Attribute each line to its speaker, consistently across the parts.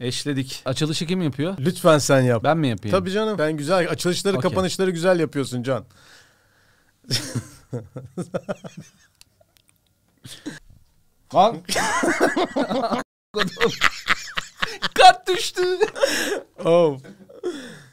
Speaker 1: Eşledik. Açılışı kim yapıyor?
Speaker 2: Lütfen sen yap.
Speaker 1: Ben mi yapayım?
Speaker 2: Tabii canım. Ben güzel açılışları,
Speaker 1: Okey.
Speaker 2: kapanışları güzel yapıyorsun Can.
Speaker 1: Lan. Kat düştü.
Speaker 2: Oh.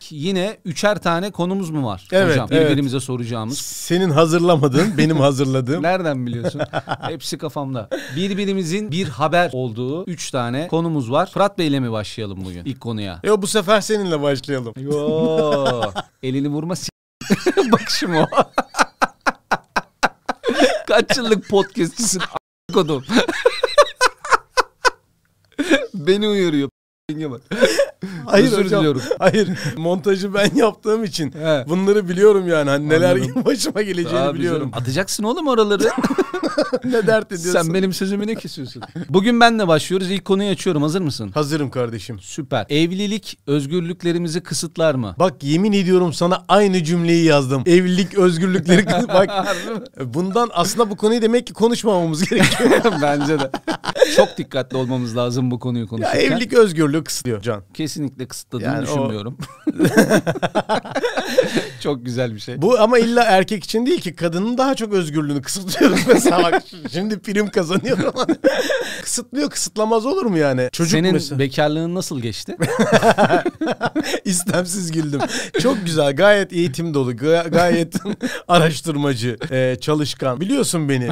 Speaker 1: Yine üçer tane konumuz mu var
Speaker 2: Evet,
Speaker 1: hocam?
Speaker 2: evet.
Speaker 1: Birbirimize soracağımız.
Speaker 2: Senin hazırlamadığın, benim hazırladığım.
Speaker 1: Nereden biliyorsun? Hepsi kafamda. Birbirimizin bir haber olduğu üç tane konumuz var. Fırat Bey'le mi başlayalım bugün ilk konuya?
Speaker 2: Yo bu sefer seninle başlayalım.
Speaker 1: Yo. Elini vurma s- Bakışım o. Kaç yıllık podcastçisin a- kodum. Beni uyarıyor. Bak.
Speaker 2: Hayır
Speaker 1: Özür
Speaker 2: hocam.
Speaker 1: diliyorum.
Speaker 2: Hayır. Montajı ben yaptığım için
Speaker 1: He.
Speaker 2: bunları biliyorum yani. Hani neler
Speaker 1: Anladım.
Speaker 2: başıma geleceğini
Speaker 1: Abi
Speaker 2: biliyorum.
Speaker 1: canım, Atacaksın oğlum oraları.
Speaker 2: ne dert ediyorsun?
Speaker 1: Sen benim sözümü ne kesiyorsun? Bugün benle başlıyoruz. İlk konuyu açıyorum. Hazır mısın?
Speaker 2: Hazırım kardeşim.
Speaker 1: Süper. Evlilik özgürlüklerimizi kısıtlar mı?
Speaker 2: Bak yemin ediyorum sana aynı cümleyi yazdım. Evlilik, özgürlükleri bak. Bundan aslında bu konuyu demek ki konuşmamamız gerekiyor.
Speaker 1: Bence de. Çok dikkatli olmamız lazım bu konuyu
Speaker 2: Ya
Speaker 1: konuşurken.
Speaker 2: evlilik özgürlüğü kısıtlıyor Can.
Speaker 1: Kesinlikle kısıtladığını
Speaker 2: Yani o-
Speaker 1: düşünmüyorum. Çok güzel bir şey.
Speaker 2: Bu ama illa erkek için değil ki kadının daha çok özgürlüğünü kısıtlıyoruz mesela bak şimdi prim kazanıyor falan. Kısıtlıyor kısıtlamaz olur mu yani? Çocuk
Speaker 1: Senin
Speaker 2: mesela
Speaker 1: bekarlığın nasıl geçti?
Speaker 2: istemsiz güldüm. Çok güzel gayet eğitim dolu ga- gayet araştırmacı e, çalışkan biliyorsun beni.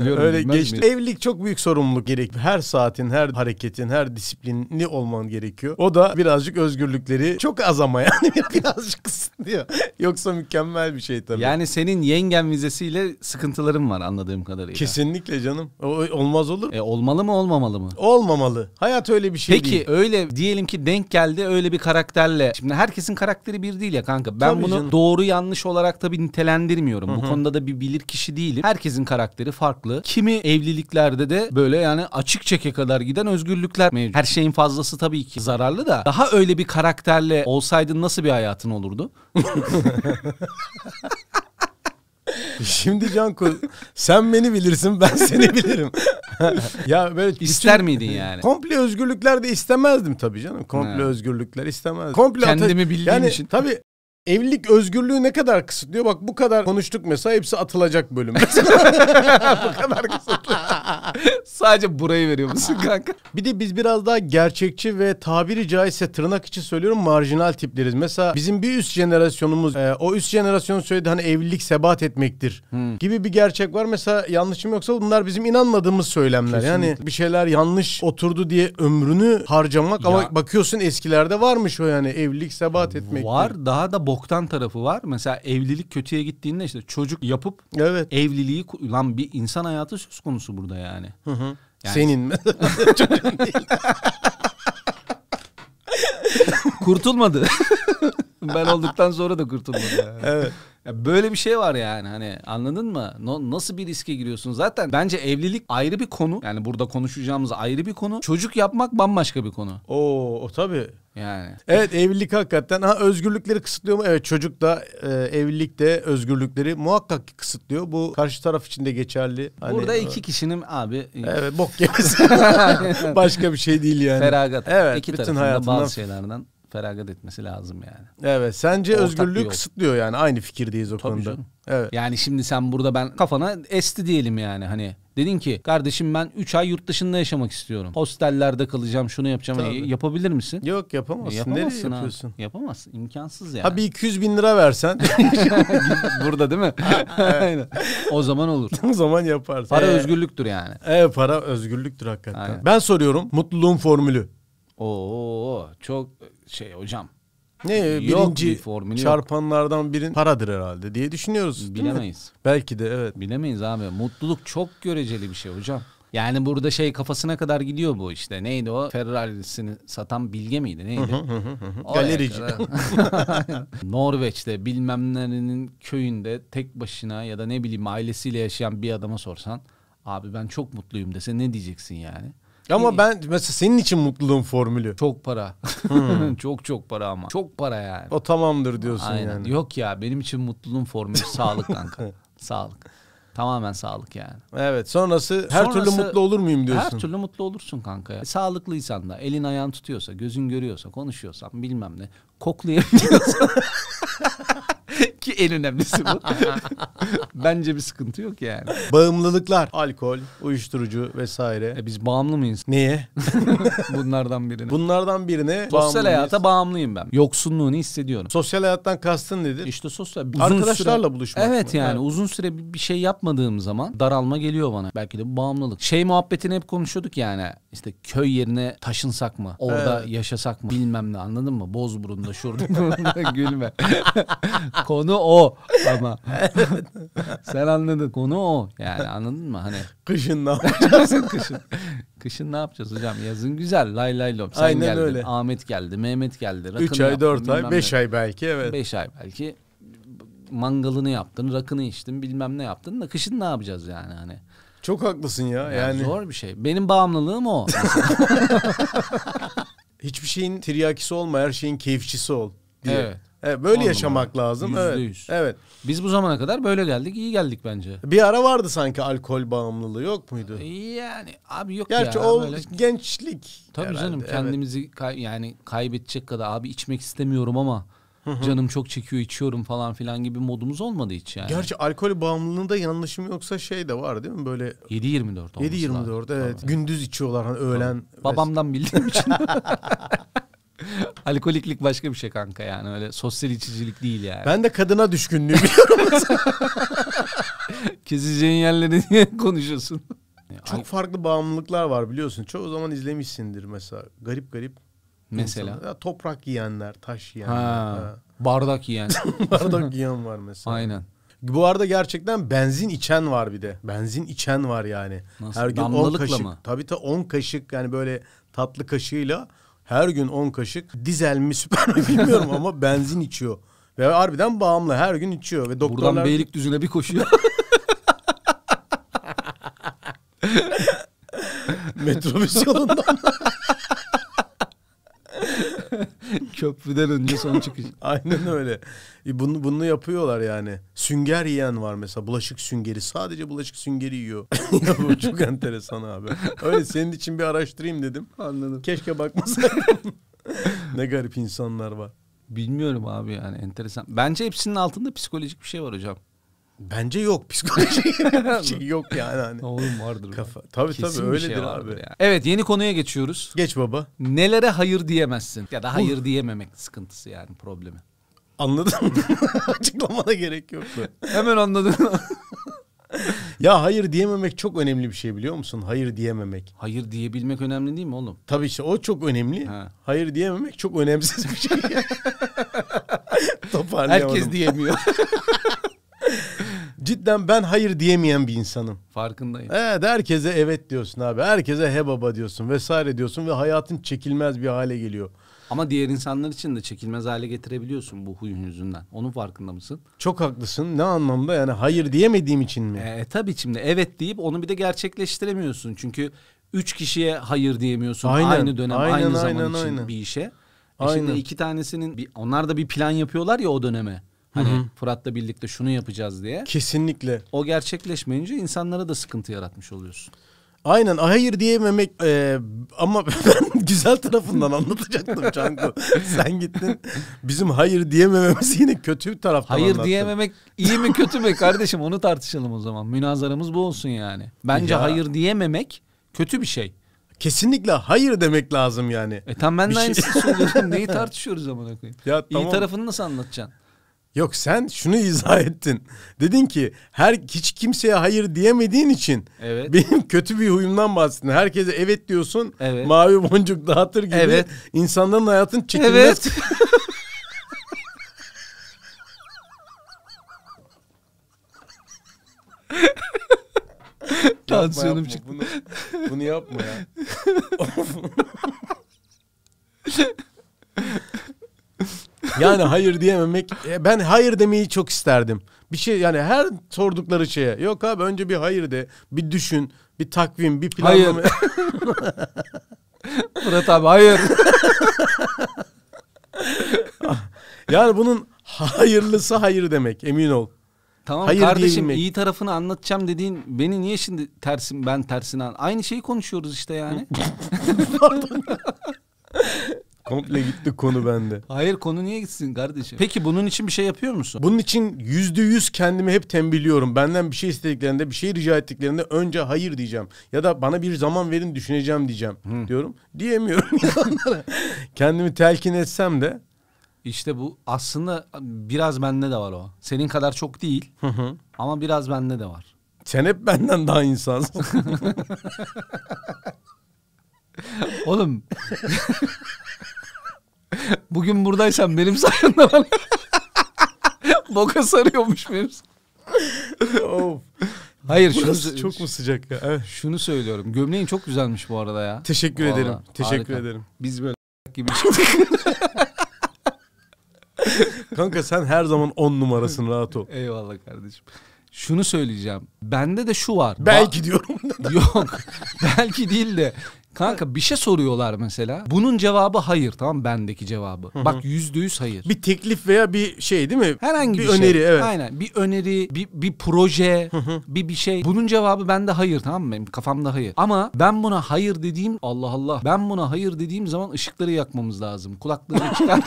Speaker 1: Biliyorum,
Speaker 2: Öyle
Speaker 1: bilmez
Speaker 2: geçti.
Speaker 1: miyim?
Speaker 2: Evlilik çok büyük sorumluluk gerek. Her saatin her hareketin her disiplinli olman gerekiyor. O da birazcık özgürlükleri çok az ama yani birazcık kısıtlıyor. Yoksa mükemmel bir şey tabii.
Speaker 1: Yani senin yengen vizesiyle sıkıntıların var anladığım kadarıyla.
Speaker 2: Kesinlikle canım. O, olmaz olur.
Speaker 1: E, olmalı mı olmamalı mı?
Speaker 2: Olmamalı. Hayat öyle bir şey
Speaker 1: Peki
Speaker 2: değil.
Speaker 1: öyle diyelim ki denk geldi öyle bir karakterle. Şimdi herkesin karakteri bir değil ya kanka. Ben
Speaker 2: Tabii
Speaker 1: bunu
Speaker 2: canım.
Speaker 1: doğru yanlış olarak tabii nitelendirmiyorum. Bu konuda da bir bilir kişi değilim. Herkesin karakteri farklı. Kimi evliliklerde de böyle yani açık çeke kadar giden özgürlükler mevcut. Her şeyin fazlası tabii ki zararlı da. Daha öyle bir karakterle olsaydın nasıl bir hayatın olurdu?
Speaker 2: Şimdi Canku sen beni bilirsin ben seni bilirim. ya böyle bütün-
Speaker 1: İster miydin yani?
Speaker 2: Komple özgürlükler de istemezdim tabii canım. Komple
Speaker 1: Ha.
Speaker 2: özgürlükler istemezdim. Komple
Speaker 1: Kendimi bildiğim
Speaker 2: yani,
Speaker 1: için.
Speaker 2: Tabii evlilik özgürlüğü ne kadar kısıtlıyor? Bak bu kadar konuştuk mesela hepsi atılacak bölüm. bu kadar kısıtlı.
Speaker 1: Sadece burayı veriyor musun kanka?
Speaker 2: Bir de biz biraz daha gerçekçi ve tabiri caizse tırnak içi söylüyorum marjinal tipleriz. Mesela bizim bir üst jenerasyonumuz e, o üst jenerasyonun söyledi hani evlilik sebat etmektir gibi bir gerçek var. Mesela yanlışım yoksa bunlar bizim inanmadığımız söylemler. Yani bir şeyler yanlış oturdu diye ömrünü harcamak
Speaker 1: Ya.
Speaker 2: ama bakıyorsun eskilerde varmış o yani evlilik sebat etmektir.
Speaker 1: Var daha da boktan tarafı var. Mesela evlilik kötüye gittiğinde işte çocuk yapıp
Speaker 2: Evet.
Speaker 1: evliliği ku- lan bir insan hayatı söz konusu burada yani. Yani-
Speaker 2: Senin.
Speaker 1: Kurtulmadı. ben olduktan sonra da kurtulmadı. yani. Ya böyle bir şey var yani hani anladın mı? No- nasıl bir riske giriyorsun? Zaten bence evlilik ayrı bir konu. Yani burada konuşacağımız ayrı bir konu. Çocuk yapmak bambaşka bir konu.
Speaker 2: Oo, o tabii.
Speaker 1: Yani
Speaker 2: Evet evlilik hakikaten ha özgürlükleri kısıtlıyor mu? Evet çocuk da e, evlilik de özgürlükleri muhakkak ki kısıtlıyor. Bu karşı taraf için de geçerli. Hani-
Speaker 1: burada iki kişinin abi
Speaker 2: Evet bok yemesi. Başka bir şey değil yani.
Speaker 1: feragat.
Speaker 2: Evet
Speaker 1: iki
Speaker 2: bütün
Speaker 1: tarafın da
Speaker 2: hayatından.
Speaker 1: bazı şeylerden feragat etmesi lazım yani.
Speaker 2: Evet sence
Speaker 1: Ortak bir
Speaker 2: özgürlüğü
Speaker 1: yol.
Speaker 2: kısıtlıyor yani aynı fikirdeyiz o konuda.
Speaker 1: canım.
Speaker 2: Evet.
Speaker 1: Yani şimdi sen burada ben kafana esti diyelim yani hani. Dedin ki kardeşim ben 3 ay yurt dışında yaşamak istiyorum. Hostellerde kalacağım şunu yapacağım.
Speaker 2: Tabii.
Speaker 1: E, yapabilir misin?
Speaker 2: Yok yapamazsın. Nereye
Speaker 1: E, Yapamazsın ha.
Speaker 2: yapıyorsun?
Speaker 1: Yapamazsın. İmkansız yani.
Speaker 2: Ha bir 200 bin lira versen
Speaker 1: Burada değil mi? Aynen. o zaman olur.
Speaker 2: o zaman yaparsın.
Speaker 1: Para
Speaker 2: Ee,
Speaker 1: özgürlüktür yani.
Speaker 2: Evet para özgürlüktür hakikaten.
Speaker 1: Aynen.
Speaker 2: Ben soruyorum mutluluğun formülü.
Speaker 1: Oo çok şey hocam.
Speaker 2: Ne
Speaker 1: Yok,
Speaker 2: birinci
Speaker 1: bir formülü yok.
Speaker 2: çarpanlardan birin paradır herhalde diye düşünüyoruz. değil mi?
Speaker 1: Bilemeyiz.
Speaker 2: Belki de evet.
Speaker 1: Bilemeyiz abi. Mutluluk çok göreceli bir şey hocam. Yani burada şey kafasına kadar gidiyor bu işte. Neydi o? Ferrari'sini satan bilge miydi? Neydi? Oraya
Speaker 2: Galerici.
Speaker 1: kadar. Norveç'te bilmem nerenin köyünde tek başına ya da ne bileyim ailesiyle yaşayan bir adama sorsan abi ben çok mutluyum dese ne diyeceksin yani?
Speaker 2: Ama ben mesela senin için mutluluğun formülü.
Speaker 1: Çok para.
Speaker 2: Hmm.
Speaker 1: çok çok para ama. Çok para yani.
Speaker 2: O tamamdır diyorsun
Speaker 1: Aynen.
Speaker 2: yani.
Speaker 1: Yok ya benim için mutluluğun formülü sağlık kanka. sağlık. Tamamen sağlık yani.
Speaker 2: Evet sonrası her
Speaker 1: Sonrası-
Speaker 2: türlü mutlu olur muyum diyorsun.
Speaker 1: Her türlü mutlu olursun kanka ya. E, Sağlıklıysan da elin ayağın tutuyorsa, gözün görüyorsa, konuşuyorsan bilmem ne. Koklayabiliyorsan. Ki en önemlisi bu. Bence bir sıkıntı yok yani.
Speaker 2: Bağımlılıklar. Alkol, uyuşturucu vesaire.
Speaker 1: E biz bağımlı mıyız
Speaker 2: Neye?
Speaker 1: bunlardan birine?
Speaker 2: Bunlardan birine
Speaker 1: Sosyal
Speaker 2: bağımlıyız.
Speaker 1: hayata bağımlıyım ben. Yoksunluğunu hissediyorum.
Speaker 2: Sosyal hayattan kastın nedir?
Speaker 1: İşte sosyal uzun
Speaker 2: Arkadaşlarla
Speaker 1: süre-
Speaker 2: buluşmak
Speaker 1: Evet
Speaker 2: mı?
Speaker 1: yani
Speaker 2: Evet.
Speaker 1: uzun süre bir bir şey yapmadığım zaman daralma geliyor bana. Belki de bu bağımlılık. Şey muhabbetini hep konuşuyorduk yani. İşte köy yerine taşınsak mı? Orada yaşasak mı? Bilmem ne anladın mı? Bozburun'da şurada gülme. Konu o ama. Sen anladın. Konu o. Yani anladın mı? Hani
Speaker 2: Kışın ne yapacağız?
Speaker 1: kışın. Kışın ne yapacağız hocam? Yazın güzel. Lay lay lom. Sen
Speaker 2: Aynen
Speaker 1: geldin.
Speaker 2: öyle.
Speaker 1: Ahmet geldi. Mehmet geldi.
Speaker 2: 3
Speaker 1: rakını
Speaker 2: ay,
Speaker 1: yaptın,
Speaker 2: 4
Speaker 1: bilmem
Speaker 2: ay,
Speaker 1: ne.
Speaker 2: 5 ay belki evet.
Speaker 1: 5 ay belki mangalını yaptın, rakını içtin, bilmem ne yaptın da kışın ne yapacağız yani hani?
Speaker 2: Çok haklısın ya.
Speaker 1: Yani,
Speaker 2: Yani,
Speaker 1: zor bir şey. Benim bağımlılığım o.
Speaker 2: hiçbir şeyin tiryakisi olma, her şeyin keyifçisi ol diye.
Speaker 1: Evet.
Speaker 2: Evet, böyle
Speaker 1: On
Speaker 2: yaşamak lazım.
Speaker 1: Yüzde
Speaker 2: Evet.
Speaker 1: yüz.
Speaker 2: Evet.
Speaker 1: Biz bu zamana kadar böyle geldik, iyi geldik bence.
Speaker 2: Bir ara vardı sanki alkol bağımlılığı yok muydu?
Speaker 1: Yani abi yok
Speaker 2: Gerçi
Speaker 1: ya.
Speaker 2: o
Speaker 1: böyle-
Speaker 2: gençlik.
Speaker 1: Tabii
Speaker 2: herhalde,
Speaker 1: canım
Speaker 2: evet.
Speaker 1: kendimizi kay- yani kaybedecek kadar abi içmek istemiyorum ama canım çok çekiyor içiyorum falan filan gibi modumuz olmadı hiç yani.
Speaker 2: Gerçi alkol bağımlılığında yanlışım yoksa şey de var değil mi? Böyle
Speaker 1: 7-24 olması
Speaker 2: 7-24
Speaker 1: lazım.
Speaker 2: evet. Gündüz içiyorlar hani öğlen.
Speaker 1: Babamdan bildiğim için. Alkoliklik başka bir şey kanka yani öyle sosyal içicilik değil yani.
Speaker 2: Ben de kadına düşkünlüğü biliyorum.
Speaker 1: Keseceğin yerleri niye konuşuyorsun?
Speaker 2: Çok farklı bağımlılıklar var biliyorsun. Çoğu zaman izlemişsindir mesela. Garip garip.
Speaker 1: Mesela?
Speaker 2: insanlar. Ya toprak yiyenler, taş yiyenler.
Speaker 1: Ha, bardak yiyen.
Speaker 2: ha. Bardak yiyen var mesela.
Speaker 1: Aynen.
Speaker 2: Bu arada gerçekten benzin içen var bir de. Benzin içen var yani.
Speaker 1: Nasıl?
Speaker 2: Her gün 10
Speaker 1: Damlalıkla
Speaker 2: kaşık.
Speaker 1: mı?
Speaker 2: Tabii tabii 10 kaşık yani böyle tatlı kaşığıyla her gün 10 kaşık dizel mi süper mi bilmiyorum ama benzin içiyor. Ve harbiden bağımlı her gün içiyor ve doktorlar
Speaker 1: Buradan Beylikdüzü'ne bir koşuyor.
Speaker 2: metrobüs yolundan
Speaker 1: Köprüden önce son çıkış.
Speaker 2: aynen öyle. E Bunu, bunu yapıyorlar yani. Sünger yiyen var mesela bulaşık süngeri sadece bulaşık süngeri yiyor. ya bu çok enteresan abi. Öyle senin için bir araştırayım dedim.
Speaker 1: Anladım.
Speaker 2: Keşke bakmasaydım. ne garip insanlar var.
Speaker 1: Bilmiyorum abi yani enteresan. Bence hepsinin altında psikolojik bir şey var hocam.
Speaker 2: Bence yok psikoloji. Bir şey yok yani hani.
Speaker 1: Oğlum vardır.
Speaker 2: Kafa. Tabii tabii
Speaker 1: şey
Speaker 2: öyledir abi.
Speaker 1: Evet yeni konuya geçiyoruz.
Speaker 2: Geç baba.
Speaker 1: Nelere hayır diyemezsin ya da hayır diyememek sıkıntısı yani problemi.
Speaker 2: Anladın mı? Açıklamana gerek yoktu.
Speaker 1: Hemen anladım.
Speaker 2: Ya hayır diyememek çok önemli bir şey biliyor musun? Hayır diyememek.
Speaker 1: hayır diyebilmek önemli değil mi oğlum?
Speaker 2: Tabii işte o çok önemli.
Speaker 1: Ha.
Speaker 2: Hayır diyememek çok önemsiz bir şey. Toparlayamadım.
Speaker 1: Herkes diyemiyor.
Speaker 2: Cidden ben hayır diyemeyen bir insanım.
Speaker 1: Farkındayım.
Speaker 2: Evet herkese evet diyorsun abi. Herkese he baba diyorsun vesaire diyorsun ve hayatın çekilmez bir hale geliyor.
Speaker 1: Ama diğer insanlar için de çekilmez hale getirebiliyorsun bu huyun yüzünden. Onun farkında mısın?
Speaker 2: Çok haklısın. Ne anlamda yani hayır diyemediğim için mi?
Speaker 1: E, tabii şimdi evet deyip onu bir de gerçekleştiremiyorsun. Çünkü üç kişiye hayır diyemiyorsun
Speaker 2: Aynen,
Speaker 1: aynı dönem
Speaker 2: aynen,
Speaker 1: aynı zaman
Speaker 2: aynen,
Speaker 1: için
Speaker 2: aynen.
Speaker 1: bir işe. E
Speaker 2: Aynen.
Speaker 1: Şimdi iki tanesinin bir, onlar da bir plan yapıyorlar ya o döneme. Hani Fırat'la birlikte şunu yapacağız diye.
Speaker 2: Kesinlikle.
Speaker 1: O gerçekleşmeyince insanlara da sıkıntı yaratmış oluyorsun.
Speaker 2: Aynen hayır diyememek e, ama ben güzel tarafından anlatacaktım Canku. Sen gittin. Bizim hayır diyemememiz yine kötü bir taraftan
Speaker 1: Hayır
Speaker 2: anlattın.
Speaker 1: diyememek iyi mi kötü mü kardeşim onu tartışalım o zaman. Münazaramız bu olsun yani. Bence
Speaker 2: Ya.
Speaker 1: hayır diyememek kötü bir şey.
Speaker 2: Kesinlikle hayır demek lazım yani.
Speaker 1: E tam ben
Speaker 2: Bir
Speaker 1: de
Speaker 2: şey-
Speaker 1: aynısını söylüyorum. Neyi tartışıyoruz amına koyayım?
Speaker 2: Ya
Speaker 1: İyi
Speaker 2: tamam.
Speaker 1: tarafını nasıl anlatacaksın?
Speaker 2: Yok sen şunu izah ettin. Dedin ki her hiç kimseye hayır diyemediğin için
Speaker 1: Evet.
Speaker 2: benim kötü bir huyumdan bahsettin. Herkese evet diyorsun.
Speaker 1: Evet.
Speaker 2: Mavi boncuk dağıtır gibi
Speaker 1: Evet.
Speaker 2: insanların hayatın çekilmez.
Speaker 1: Evet.
Speaker 2: Yapma,
Speaker 1: Tansiyonum
Speaker 2: yapma.
Speaker 1: çıktı.
Speaker 2: Bunu, bunu yapma ya. yani hayır diyememek. e, Ben hayır demeyi çok isterdim. Bir şey yani her sordukları şeye. Yok abi önce bir hayır de. Bir düşün. Bir takvim. Bir planlama.
Speaker 1: Hayır. Fırat abi hayır.
Speaker 2: yani bunun hayırlısı hayır demek. Emin ol.
Speaker 1: Tamam
Speaker 2: hayır
Speaker 1: kardeşim
Speaker 2: diyebilmek.
Speaker 1: iyi tarafını anlatacağım dediğin beni niye şimdi tersin ben tersine an- aynı şeyi konuşuyoruz işte yani.
Speaker 2: Komple gitti konu bende.
Speaker 1: Hayır konu niye gitsin kardeşim? Peki bunun için bir şey yapıyor musun?
Speaker 2: Bunun için yüzde yüz kendimi hep tembihliyorum. Benden bir şey istediklerinde, bir şey rica ettiklerinde önce hayır diyeceğim. Ya da bana bir zaman verin düşüneceğim diyeceğim diyorum. Diyemiyorum insanlara. kendimi telkin etsem de
Speaker 1: İşte bu aslında biraz bende de var o. Senin kadar çok değil ama biraz bende de var.
Speaker 2: sen hep benden daha insansın.
Speaker 1: Oğlum bugün buradaysan benim sayemde bana boka sarıyormuş benim.
Speaker 2: of.
Speaker 1: Hayır şunu,
Speaker 2: Burası çok mu sıcak ya? Evet.
Speaker 1: şunu söylüyorum. Gömleğin çok güzelmiş bu arada ya.
Speaker 2: Teşekkür
Speaker 1: Vallahi,
Speaker 2: ederim. Teşekkür
Speaker 1: harika.
Speaker 2: ederim.
Speaker 1: Biz böyle gibi şey. çıktık.
Speaker 2: Kanka sen her zaman on numarasın rahat ol.
Speaker 1: Eyvallah kardeşim. Şunu söyleyeceğim. Bende de şu var. Ba-
Speaker 2: Belki diyorum.
Speaker 1: Yok. Belki değil de. Kanka bir şey soruyorlar mesela. Bunun cevabı hayır tamam mı? bendeki cevabı. Bak yüzde yüz hayır.
Speaker 2: bir teklif veya bir şey değil mi?
Speaker 1: Herhangi bir,
Speaker 2: bir öneri
Speaker 1: şey.
Speaker 2: evet.
Speaker 1: Aynen. Bir öneri, bir, bir proje, bir bir şey. Bunun cevabı bende hayır tamam mı? Benim kafamda hayır. Ama ben buna hayır dediğim Allah Allah. Ben buna hayır dediğim zaman ışıkları yakmamız lazım. Kulakları çıkar.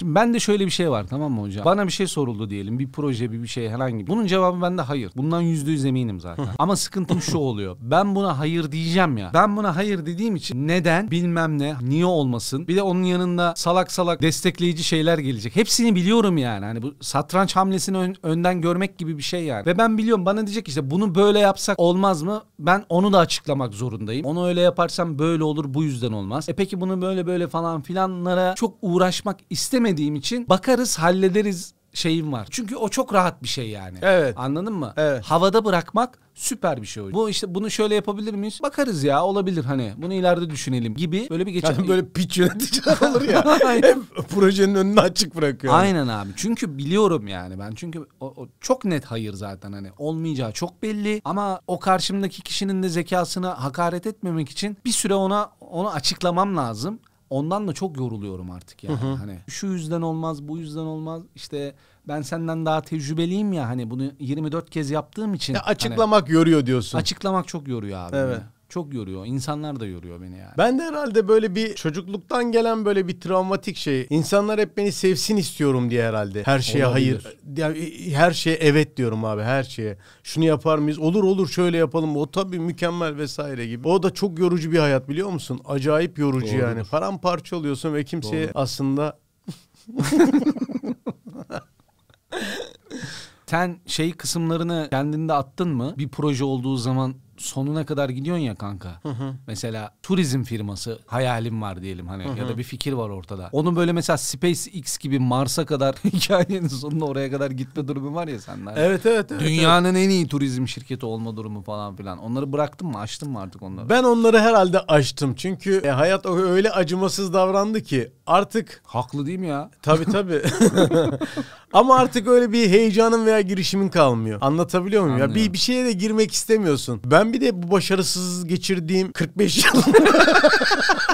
Speaker 1: Şimdi bende şöyle bir şey var tamam mı hocam? Bana bir şey soruldu diyelim. Bir proje, bir bir şey herhangi. bir- Bunun cevabı bende hayır. Bundan yüzde yüz eminim zaten. Ama sıkıntım şu oluyor. Ben buna hayır diyeceğim ya. Ben buna hayır dediğim için neden, bilmem ne, niye olmasın. Bir de onun yanında salak salak destekleyici şeyler gelecek. Hepsini biliyorum yani. Hani bu satranç hamlesini ön- önden görmek gibi bir şey yani. Ve ben biliyorum bana diyecek işte bunu böyle yapsak olmaz mı? Ben onu da açıklamak zorundayım. Onu öyle yaparsam böyle olur bu yüzden olmaz. E peki bunu böyle böyle falan filanlara çok uğraşmak istemediğim için bakarız hallederiz şeyim var. Çünkü o çok rahat bir şey yani.
Speaker 2: Evet.
Speaker 1: Anladın mmı?
Speaker 2: Evet.
Speaker 1: Havada bırakmak süper bir şey hocam. Bu işte bunu şöyle yapabilir miyiz? Bakarız ya olabilir hani. Bunu ileride düşünelim gibi böyle bir geçen.
Speaker 2: Yani böyle piç yöneticiler olur ya.
Speaker 1: Aynen.
Speaker 2: projenin önünü açık bırakıyor.
Speaker 1: Aynen abi. Çünkü biliyorum yani ben. Çünkü o, o çok net hayır zaten hani olmayacağı çok belli ama o karşımdaki kişinin de zekasına hakaret etmemek için bir süre ona onu açıklamam lazım. Ondan da çok yoruluyorum artık yani. Hani şu yüzden olmaz, bu yüzden olmaz. İşte ben senden daha tecrübeliyim ya hani bunu 24 kez yaptığım için.
Speaker 2: Ya
Speaker 1: hani
Speaker 2: açıklamak yoruyor diyorsun.
Speaker 1: açıklamak çok yoruyor abi.
Speaker 2: Evet.
Speaker 1: beni. Çok yoruyor. İnsanlar da yoruyor beni yani.
Speaker 2: ben de herhalde böyle bir çocukluktan gelen böyle bir travmatik şey. İnsanlar hep beni sevsin istiyorum diye herhalde. Her şeye
Speaker 1: Olabilir.
Speaker 2: hayır. Ya, e, Her şeye evet diyorum abi her şeye. Şunu yapar mıyız? Olur olur şöyle yapalım. O tabii mükemmel vesaire gibi. O da çok yorucu bir hayat biliyor musun? Acayip yorucu
Speaker 1: Doğrudur.
Speaker 2: yani. Paramparça oluyorsun ve kimseye aslında
Speaker 1: Sen şey kısımlarını kendinde attın mı? Bir proje olduğu zaman sonuna kadar gidiyorsun ya kanka. Mesela turizm firması hayalim var diyelim hani ya da bir fikir var ortada. Onu böyle mesela SpaceX gibi Mars'a kadar hikayenin sonunda oraya kadar gitme durumu var ya sende. hani.
Speaker 2: Evet evet evet.
Speaker 1: Dünyanın en iyi turizm şirketi olma durumu falan filan. Onları bıraktın mı? Açtın mı artık onları?
Speaker 2: Ben onları herhalde açtım. Çünkü e, hayat o- öyle acımasız davrandı ki artık
Speaker 1: Haklı değil mi ya?
Speaker 2: tabii tabii. Ama artık öyle bir heyecanın veya girişimin kalmıyor. Anlatabiliyor muyum? Ya bir
Speaker 1: Anlıyorum.
Speaker 2: bir şeye de girmek istemiyorsun. Ben bir de bu başarısız geçirdiğim 45 yıl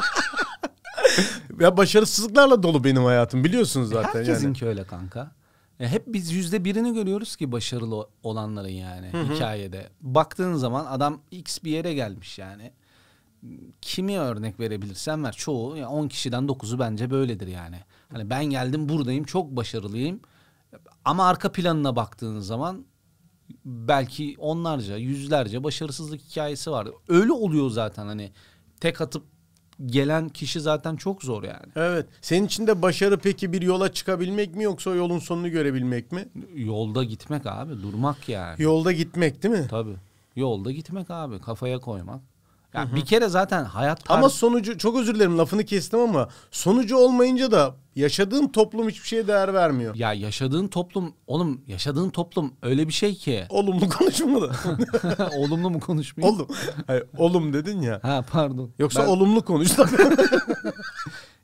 Speaker 2: Ya başarısızlıklarla dolu benim hayatım biliyorsunuz zaten yani.
Speaker 1: Herkesinki öyle kanka. E, hep biz yüzde birini görüyoruz ki başarılı o- olanların yani hikayede. Baktığın zaman adam x bir yere gelmiş yani. Kimi örnek verebilirsen ver. Çoğu ya 10 kişiden 9'u bence böyledir yani. Hani ben geldim buradayım çok başarılıyım. Ama arka planına baktığın zaman belki onlarca, yüzlerce başarısızlık hikayesi var. Öyle oluyor zaten hani tek atıp gelen kişi zaten çok zor yani.
Speaker 2: Evet. Senin için de başarı peki bir yola çıkabilmek mi yoksa o yolun sonunu görebilmek mi?
Speaker 1: Yolda gitmek abi durmak yani.
Speaker 2: Yolda gitmek değil mi?
Speaker 1: Tabii. Yolda gitmek abi kafaya koymak. Ya bir kere zaten hayat
Speaker 2: Ama sonucu çok özür dilerim lafını kestim ama sonucu olmayınca da yaşadığın toplum hiçbir şeye değer vermiyor.
Speaker 1: ya yaşadığın toplum oğlum yaşadığın toplum öyle bir şey ki
Speaker 2: Olumlu konuşma da.
Speaker 1: olumlu mu konuşmayayım?
Speaker 2: Oğlum. Hayır, olum dedin ya.
Speaker 1: ha pardon.
Speaker 2: Yoksa
Speaker 1: Ben-
Speaker 2: olumlu konuş.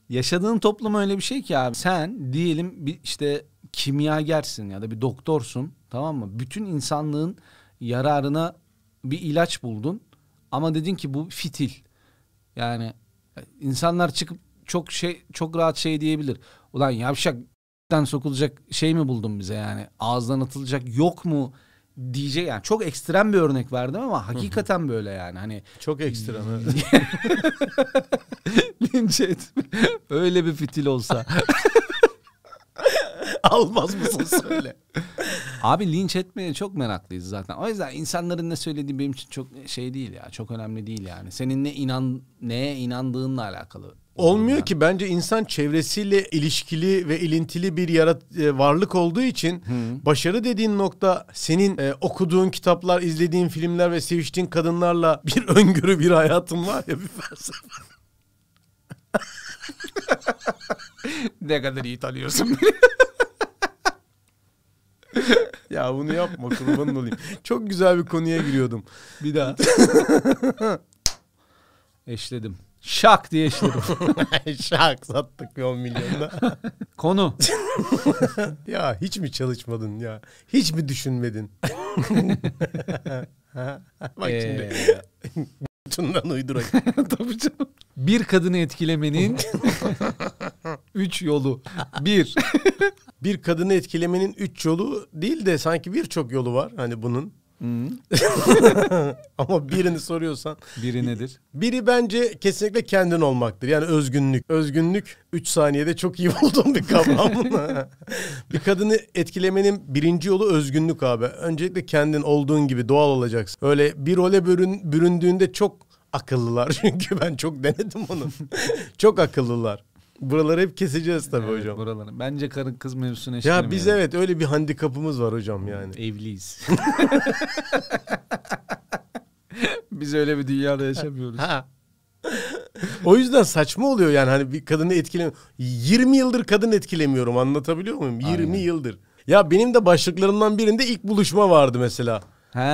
Speaker 1: yaşadığın toplum öyle bir şey ki abi sen diyelim bir işte kimyagersin ya da bir doktorsun tamam mı? Bütün insanlığın yararına bir ilaç buldun ama dedin ki bu fitil. Yani insanlar çıkıp çok şey çok rahat şey diyebilir. Ulan yavşak s**ten sokulacak şey mi buldun bize yani? Ağızdan atılacak yok mu? diyecek yani çok ekstrem bir örnek verdim ama hakikaten böyle yani hani
Speaker 2: Çok ekstrem. evet.
Speaker 1: linç etme öyle bir fitil olsa
Speaker 2: Almaz mısın söyle.
Speaker 1: Abi linç etmeye çok meraklıyız zaten. O yüzden insanların ne söylediği benim için çok şey değil ya. Çok önemli değil yani. Senin ne inan neye inandığınla alakalı.
Speaker 2: Olmuyor ki bence insan çevresiyle ilişkili ve ilintili bir yarat e, varlık olduğu için başarı dediğin nokta senin e, okuduğun kitaplar, izlediğin filmler ve seviştiğin kadınlarla bir öngörü bir hayatın var ya bir felsefe.
Speaker 1: Ne kadar iyi tanıyorsun beni.
Speaker 2: Ya bunu yapma kurban olayım. Çok güzel bir konuya giriyordum.
Speaker 1: Bir daha. eşledim. Şak diye eşledim.
Speaker 2: Şak sattık bir 10 milyonda.
Speaker 1: Konu.
Speaker 2: ya hiç mi çalışmadın ya? Hiç mi düşünmedin? Ha? Bak
Speaker 1: Ee,
Speaker 2: şimdi. Tundan uydurak.
Speaker 1: Tabii canım. Bir kadını etkilemenin üç yolu. Bir.
Speaker 2: bir kadını etkilemenin üç yolu değil de sanki birçok yolu var hani bunun. Ama birini soruyorsan.
Speaker 1: Biri nedir?
Speaker 2: Biri bence kesinlikle kendin olmaktır. Yani özgünlük. Özgünlük 3 saniyede çok iyi bulduğum bir kavram. bir kadını etkilemenin birinci yolu özgünlük abi. Öncelikle kendin olduğun gibi doğal olacaksın. Öyle bir role bürün, büründüğünde çok akıllılar. Çünkü ben çok denedim onu. çok akıllılar. Buraları hep keseceğiz tabii
Speaker 1: Evet,
Speaker 2: hocam.
Speaker 1: buraların. Bence karın kız mevzusuna
Speaker 2: Ya biz
Speaker 1: eşlemeyelim.
Speaker 2: evet öyle bir handikapımız var hocam yani.
Speaker 1: Evliyiz. Biz öyle bir dünyada yaşamıyoruz.
Speaker 2: O yüzden saçma oluyor yani hani bir kadını etkilem 20 yıldır kadın etkilemiyorum anlatabiliyor muyum? 20 yıldır. Ya benim de başlıklarımdan birinde ilk buluşma vardı mesela.
Speaker 1: Ha.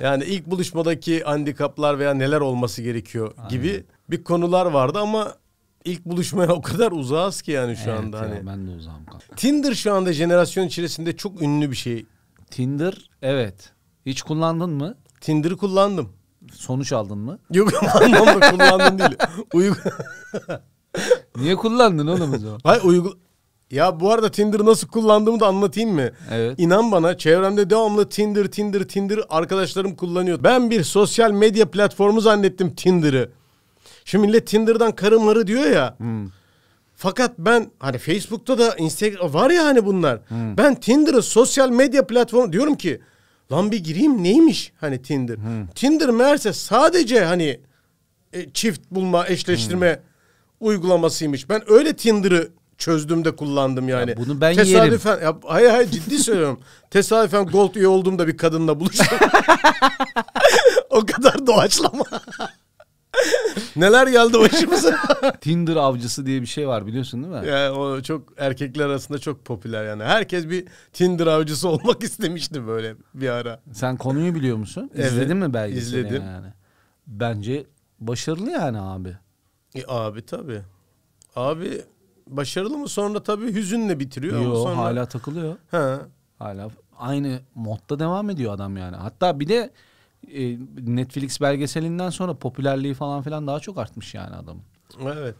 Speaker 2: Yani ilk buluşmadaki handikaplar veya neler olması gerekiyor gibi bir konular vardı ama ilk buluşmaya o kadar uzağız ki yani şu anda hani.
Speaker 1: ben de uzağım kanka.
Speaker 2: Tinder şu anda jenerasyon içerisinde çok ünlü bir şey.
Speaker 1: Tinder evet. Hiç kullandın mı?
Speaker 2: Tinder'ı kullandım.
Speaker 1: Sonuç aldın mı?
Speaker 2: Yok anlamda kullandım değil. Uygun.
Speaker 1: Niye kullandın oğlum o zaman?
Speaker 2: Hay uygul... Ya bu arada Tinder'ı nasıl kullandığımı da anlatayım mı?
Speaker 1: Evet.
Speaker 2: İnan bana çevremde devamlı Tinder, Tinder, Tinder arkadaşlarım kullanıyor. Ben bir sosyal medya platformu zannettim Tinder'ı. Şimdi millet Tinder'dan karı marı diyor ya. Fakat ben hani Facebook'ta da Instagram var ya hani bunlar.
Speaker 1: Hmm.
Speaker 2: Ben Tinder'ı sosyal medya platformu diyorum ki lan bir gireyim neymiş hani Tinder.
Speaker 1: Hmm.
Speaker 2: Tinder meğerse sadece hani e, çift bulma, eşleştirme
Speaker 1: Hmm.
Speaker 2: uygulamasıymış. Ben öyle Tinder'ı çözdüm de kullandım yani.
Speaker 1: Ya bunu ben
Speaker 2: Tesadüfen, ya, hayır hayır ciddi söylüyorum. Tesadüfen Gold üye olduğumda bir kadınla buluştum. o kadar doğaçlama. Neler geldi başımıza.
Speaker 1: Tinder avcısı diye bir şey var biliyorsun değil mi?
Speaker 2: yani o çok erkekler arasında çok popüler yani. Herkes bir Tinder avcısı olmak istemişti böyle bir ara.
Speaker 1: Sen konuyu biliyor musun? İzledin mi belgeseli
Speaker 2: izledim.
Speaker 1: yani? Bence başarılı yani abi.
Speaker 2: E, abi tabii. Abi başarılı mı sonra tabii hüzünle bitiriyor. ama
Speaker 1: Yo,
Speaker 2: sonra...
Speaker 1: hala takılıyor.
Speaker 2: Ha.
Speaker 1: Hala aynı modda devam ediyor adam yani. Hatta bir de e, Netflix belgeselinden sonra popülerliği falan filan daha çok artmış yani adamın.
Speaker 2: Evet.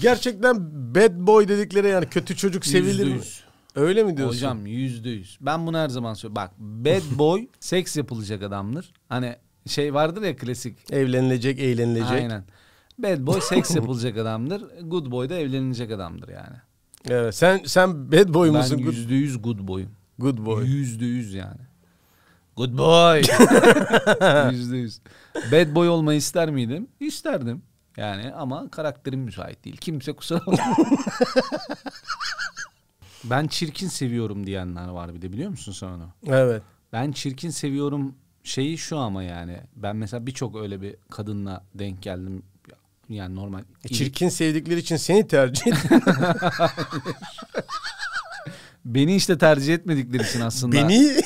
Speaker 2: Gerçekten bad boy dedikleri yani kötü çocuk sevilir mi?
Speaker 1: yüz.
Speaker 2: Öyle mi diyorsun?
Speaker 1: Hocam yüzde yüz. Ben bunu her zaman söylüyorum. Bak bad boy seks yapılacak adamdır. Hani şey vardır ya klasik.
Speaker 2: Evlenilecek, eğlenilecek.
Speaker 1: Aynen. Bad boy seks yapılacak adamdır. Good boy da evlenilecek adamdır yani.
Speaker 2: Evet. Sen sen bad boy
Speaker 1: Ben
Speaker 2: musun? Good,
Speaker 1: yüzde yüz good boyum.
Speaker 2: good boy.
Speaker 1: Yüzde yüz yani. Good boy. Yüzde yüz. Bad boy olmayı ister miydim? İsterdim. Yani ama karakterim müsait değil. Kimse kusura bakmasın. ben çirkin seviyorum diyenler var bir de biliyor musun sen onu?
Speaker 2: Evet.
Speaker 1: Ben çirkin seviyorum şeyi şu ama yani. Ben mesela birçok öyle bir kadınla denk geldim. Yani normal.
Speaker 2: E, çirkin sevdikleri için seni tercih et.
Speaker 1: Beni işte tercih etmedikleri için aslında.
Speaker 2: Beni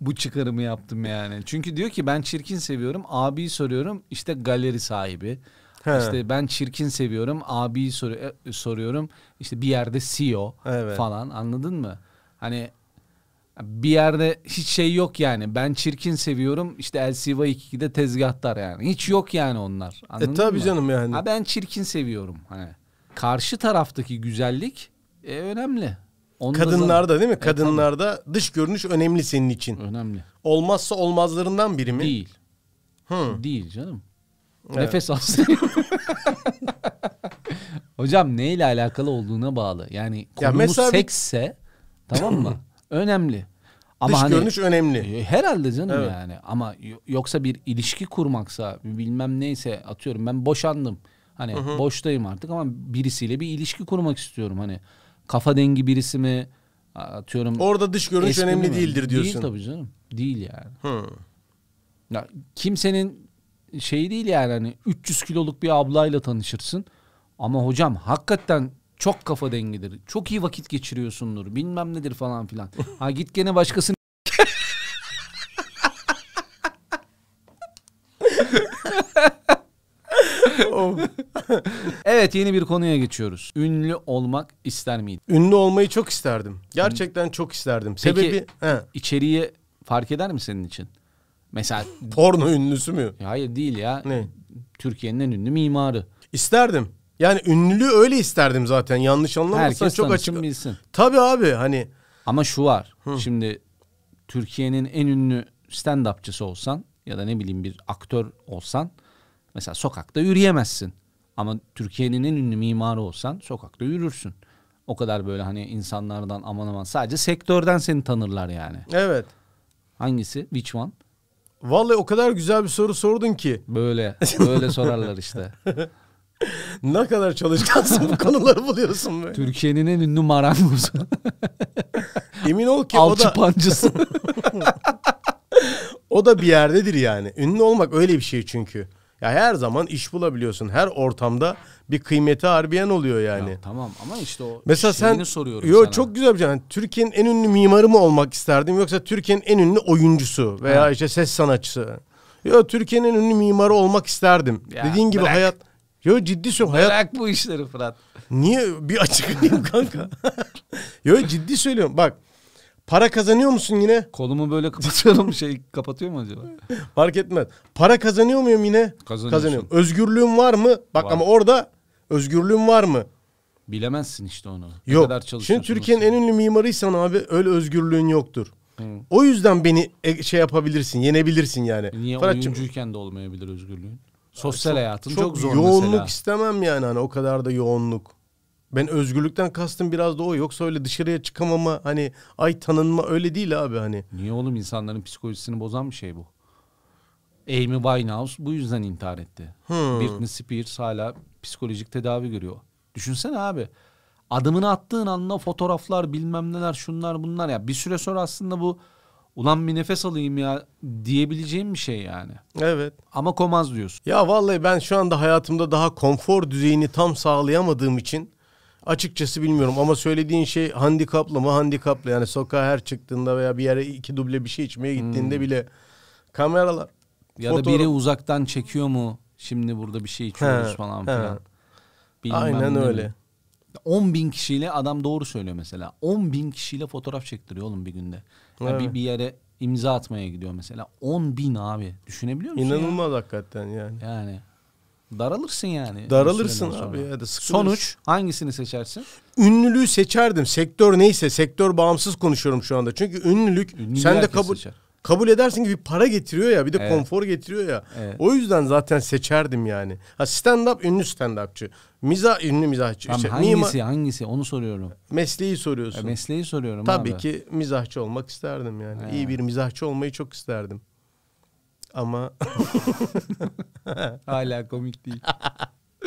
Speaker 1: bu çıkarımı yaptım yani. Çünkü diyor ki ben çirkin seviyorum. Abiyi soruyorum. işte galeri sahibi.
Speaker 2: He.
Speaker 1: İşte ben çirkin seviyorum. Abiyi soru- e, soruyorum. işte bir yerde CEO
Speaker 2: Evet.
Speaker 1: falan. Anladın mı? Hani bir yerde hiç şey yok yani. Ben çirkin seviyorum. İşte LCV 22'de tezgahtar yani. Hiç yok yani onlar. Anladın
Speaker 2: E, tabii
Speaker 1: mı?
Speaker 2: canım yani.
Speaker 1: Ha ben çirkin seviyorum. Hani karşı taraftaki güzellik e, önemli. Onu da E,
Speaker 2: Kadınlarda değil mi? Kadınlarda dış görünüş önemli senin için.
Speaker 1: Önemli.
Speaker 2: Olmazsa olmazlarından biri mi?
Speaker 1: Değil.
Speaker 2: Hı.
Speaker 1: Değil canım. Nefes alsın. Hocam neyle alakalı olduğuna bağlı. Yani konumuz
Speaker 2: mesela bir-
Speaker 1: seksse tamam mı? önemli. Ama
Speaker 2: dış
Speaker 1: hani
Speaker 2: görünüş önemli.
Speaker 1: e, herhalde canım
Speaker 2: Evet.
Speaker 1: yani. Ama yo- yoksa bir ilişki kurmaksa bilmem neyse atıyorum ben boşandım. Hani boştayım artık ama birisiyle bir ilişki kurmak istiyorum hani. Kafa dengi birisi mi atıyorum.
Speaker 2: Orada dış görünüş
Speaker 1: Espri
Speaker 2: önemli
Speaker 1: mi?
Speaker 2: değildir
Speaker 1: Değil
Speaker 2: diyorsun.
Speaker 1: tabii canım. Değil yani.
Speaker 2: Hı.
Speaker 1: Ya kimsenin şeyi değil yani hani 300 kiloluk bir ablayla tanışırsın. Ama hocam hakikaten çok kafa dengidir. Çok iyi vakit geçiriyorsundur. Bilmem nedir falan filan. Ha git gene başkasını Evet yeni bir konuya geçiyoruz. Ünlü olmak ister miydin?
Speaker 2: Ünlü olmayı çok isterdim. Gerçekten çok isterdim. Sebebi he,
Speaker 1: İçeriği fark eder mi senin için? Mesela
Speaker 2: porno ünlüsü mü?
Speaker 1: Ya Hayır değil ya.
Speaker 2: Ne?
Speaker 1: Türkiye'nin en ünlü mimarı.
Speaker 2: İsterdim. Yani ünlülüğü öyle isterdim zaten. Yanlış anlamazsan
Speaker 1: Herkes
Speaker 2: çok
Speaker 1: tanısın
Speaker 2: açık.
Speaker 1: bilsin.
Speaker 2: Tabii abi hani
Speaker 1: Ama şu var. Şimdi Türkiye'nin en ünlü stand-upçısı olsan ya da ne bileyim bir aktör olsan mesela sokakta yürüyemezsin. Ama Türkiye'nin en ünlü mimarı olsan sokakta yürürsün. O kadar böyle hani insanlardan aman aman sadece sektörden seni tanırlar yani.
Speaker 2: evet.
Speaker 1: Hangisi? Which one?
Speaker 2: Vallahi o kadar güzel bir soru sordun ki.
Speaker 1: Böyle böyle sorarlar işte.
Speaker 2: Ne kadar çalışkansın bu konuları buluyorsun be.
Speaker 1: Türkiye'nin en ünlü marangozu.
Speaker 2: Emin ol ki o
Speaker 1: Alçı
Speaker 2: da
Speaker 1: pancısı.
Speaker 2: o da bir yerdedir yani. Ünlü olmak öyle bir şey çünkü. Ya her zaman iş bulabiliyorsun. Her ortamda bir kıymeti harbiyen oluyor yani.
Speaker 1: Ya tamam ama işte o
Speaker 2: Mesela
Speaker 1: şeyini
Speaker 2: sen
Speaker 1: soruyorum
Speaker 2: Yo,
Speaker 1: sana.
Speaker 2: çok güzel bir şey. Yani Türkiye'nin en ünlü mimarı mı olmak isterdim yoksa Türkiye'nin en ünlü oyuncusu veya
Speaker 1: Ha.
Speaker 2: işte ses sanatçısı. Yo Türkiye'nin en ünlü mimarı olmak isterdim.
Speaker 1: Ya,
Speaker 2: Dediğin gibi
Speaker 1: bırak.
Speaker 2: hayat Yo ciddi söylüyorum. Hayat
Speaker 1: Bırak bu işleri Fırat.
Speaker 2: Niye bir açıklayayım kanka? Yo ciddi söylüyorum. Bak para kazanıyor musun yine?
Speaker 1: Kolumu böyle kapatıyorum şey kapatıyor mu acaba?
Speaker 2: Fark etmez. Para kazanıyor muyum yine?
Speaker 1: Kazanıyorsun.
Speaker 2: Kazanıyorum. Özgürlüğüm var mı? Bak
Speaker 1: Var.
Speaker 2: ama orada özgürlüğüm var mı?
Speaker 1: Bilemezsin işte onu. Ne
Speaker 2: Yok.
Speaker 1: kadar
Speaker 2: Şimdi
Speaker 1: çalışıyorsun,
Speaker 2: Türkiye'nin en
Speaker 1: nasıl-
Speaker 2: ünlü mimarıysan abi öyle özgürlüğün yoktur.
Speaker 1: Hı.
Speaker 2: O yüzden beni e- şey yapabilirsin, yenebilirsin yani.
Speaker 1: Niye
Speaker 2: Fırat'cığım,
Speaker 1: oyuncuyken de olmayabilir özgürlüğün? Sosyal hayatın çok,
Speaker 2: çok,
Speaker 1: zor
Speaker 2: yoğunluk
Speaker 1: mesela.
Speaker 2: istemem yani hani o kadar da yoğunluk. Ben özgürlükten kastım biraz da o. Yoksa öyle dışarıya çıkamama hani ay tanınma öyle değil abi hani.
Speaker 1: Niye oğlum insanların psikolojisini bozan bir şey bu. Amy Winehouse bu yüzden intihar etti.
Speaker 2: Hmm.
Speaker 1: Britney Spears hala psikolojik tedavi görüyor. Düşünsene abi. Adımını attığın anda fotoğraflar bilmem neler şunlar bunlar ya. Bir süre sonra aslında bu ulan bir nefes alayım ya diyebileceğim bir şey yani.
Speaker 2: Evet.
Speaker 1: Ama komaz diyorsun.
Speaker 2: Ya vallahi ben şu anda hayatımda daha konfor düzeyini tam sağlayamadığım için açıkçası bilmiyorum ama söylediğin şey handikaplı mı handikaplı yani sokağa her çıktığında veya bir yere iki duble bir şey içmeye gittiğinde bile kameralar
Speaker 1: Hmm. Ya da
Speaker 2: fotoğraf-
Speaker 1: biri uzaktan çekiyor mu? Şimdi burada bir şey içiyoruz
Speaker 2: He,
Speaker 1: falan
Speaker 2: he.
Speaker 1: filan. Bilmem
Speaker 2: aynen
Speaker 1: ne mi.
Speaker 2: öyle.
Speaker 1: 10 bin kişiyle adam doğru söylüyor mesela. 10 bin kişiyle fotoğraf çektiriyor oğlum bir günde. Ya
Speaker 2: Evet.
Speaker 1: bir, bir yere imza atmaya gidiyor mesela. 10 bin abi. Düşünebiliyor musun? şey ya?
Speaker 2: İnanılmaz hakikaten yani.
Speaker 1: Yani daralırsın yani.
Speaker 2: Daralırsın
Speaker 1: Bir süreden
Speaker 2: abi
Speaker 1: sonra.
Speaker 2: ya da sıkılırsın.
Speaker 1: Sonuç hangisini seçersin?
Speaker 2: Ünlülüğü seçerdim. Sektör neyse sektör bağımsız konuşuyorum şu anda. Çünkü ünlülük
Speaker 1: Ünlülüğü
Speaker 2: sen de
Speaker 1: herkes
Speaker 2: kabul
Speaker 1: seçer.
Speaker 2: kabul edersin ki bir para getiriyor ya bir de
Speaker 1: Evet.
Speaker 2: konfor getiriyor ya.
Speaker 1: Evet.
Speaker 2: O yüzden zaten seçerdim yani. Ha stand up ünlü stand upçı. Miza ünlü mizahçı.
Speaker 1: Tam
Speaker 2: İşte
Speaker 1: hangisi
Speaker 2: mimar-
Speaker 1: hangisi onu soruyorum.
Speaker 2: mesleği
Speaker 1: Ya
Speaker 2: soruyorsun.
Speaker 1: mesleği soruyorum
Speaker 2: Tabii
Speaker 1: abi.
Speaker 2: ki mizahçı olmak isterdim yani.
Speaker 1: Ha.
Speaker 2: İyi bir mizahçı olmayı çok isterdim. Ama
Speaker 1: Hala komik değil.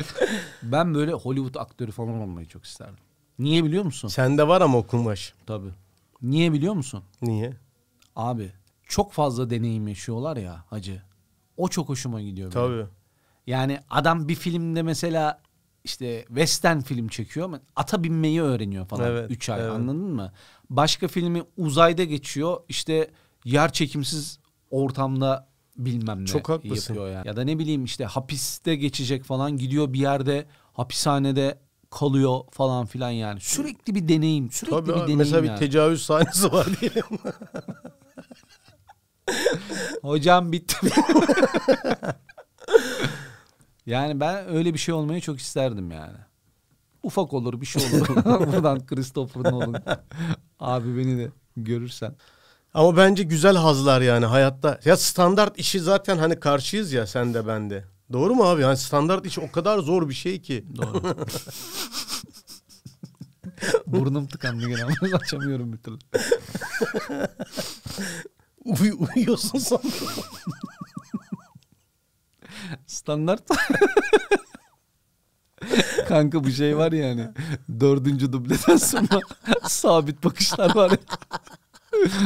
Speaker 1: ben böyle Hollywood aktörü falan olmayı çok isterdim. Niye biliyor musun?
Speaker 2: sende var ama o kumaş.
Speaker 1: Tabii. Niye biliyor musun?
Speaker 2: Niye?
Speaker 1: Abi çok fazla deneyim yaşıyorlar ya hacı. O çok hoşuma gidiyor. benim.
Speaker 2: Tabii.
Speaker 1: Yani adam bir filmde mesela işte western film çekiyor ama ata binmeyi öğreniyor falan.
Speaker 2: Evet,
Speaker 1: 3 ay
Speaker 2: evet.
Speaker 1: anladın mı? Başka filmi uzayda geçiyor işte yer çekimsiz ortamda bilmem ne
Speaker 2: Çok haklısın.
Speaker 1: yapıyor yani. Ya da ne bileyim işte hapiste geçecek falan gidiyor bir yerde hapishanede kalıyor falan filan yani. Sürekli bir deneyim sürekli
Speaker 2: Tabii
Speaker 1: bir
Speaker 2: abi.
Speaker 1: deneyim
Speaker 2: mesela
Speaker 1: yani.
Speaker 2: bir tecavüz sahnesi var diyelim.
Speaker 1: Hocam bitti. yani ben öyle bir şey olmayı çok isterdim yani. ufak olur bir şey olur. Buradan Christopher Nolan. Abi beni de görürsen.
Speaker 2: Ama bence güzel hazlar yani hayatta. Ya standart işi zaten hani karşıyız ya sen de ben de. Doğru mu abi? Yani standart iş o kadar zor bir şey ki.
Speaker 1: Doğru. Burnum tıkandı gene ama açamıyorum bir türlü.
Speaker 2: Uy, uyuyorsun sandım.
Speaker 1: Standart. Kanka bu şey var yani. Dördüncü dubleden sonra sabit bakışlar var. ya.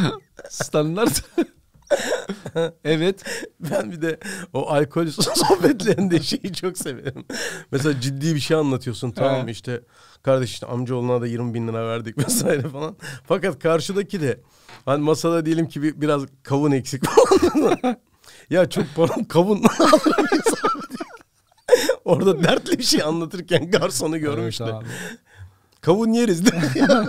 Speaker 1: Standart. evet.
Speaker 2: Ben bir de o alkol sohbetlerinde şeyi çok severim. Mesela ciddi bir şey anlatıyorsun tamam mı
Speaker 1: He.
Speaker 2: işte kardeş işte amcaoğluna da 20 bin lira verdik vesaire falan. Fakat karşıdaki de hani masada diyelim ki bir, biraz kavun eksik falan. ya çok param kavun. Orada dertli bir şey anlatırken garsonu görmüştü.
Speaker 1: Evet abi.
Speaker 2: kavun yeriz de. Efendim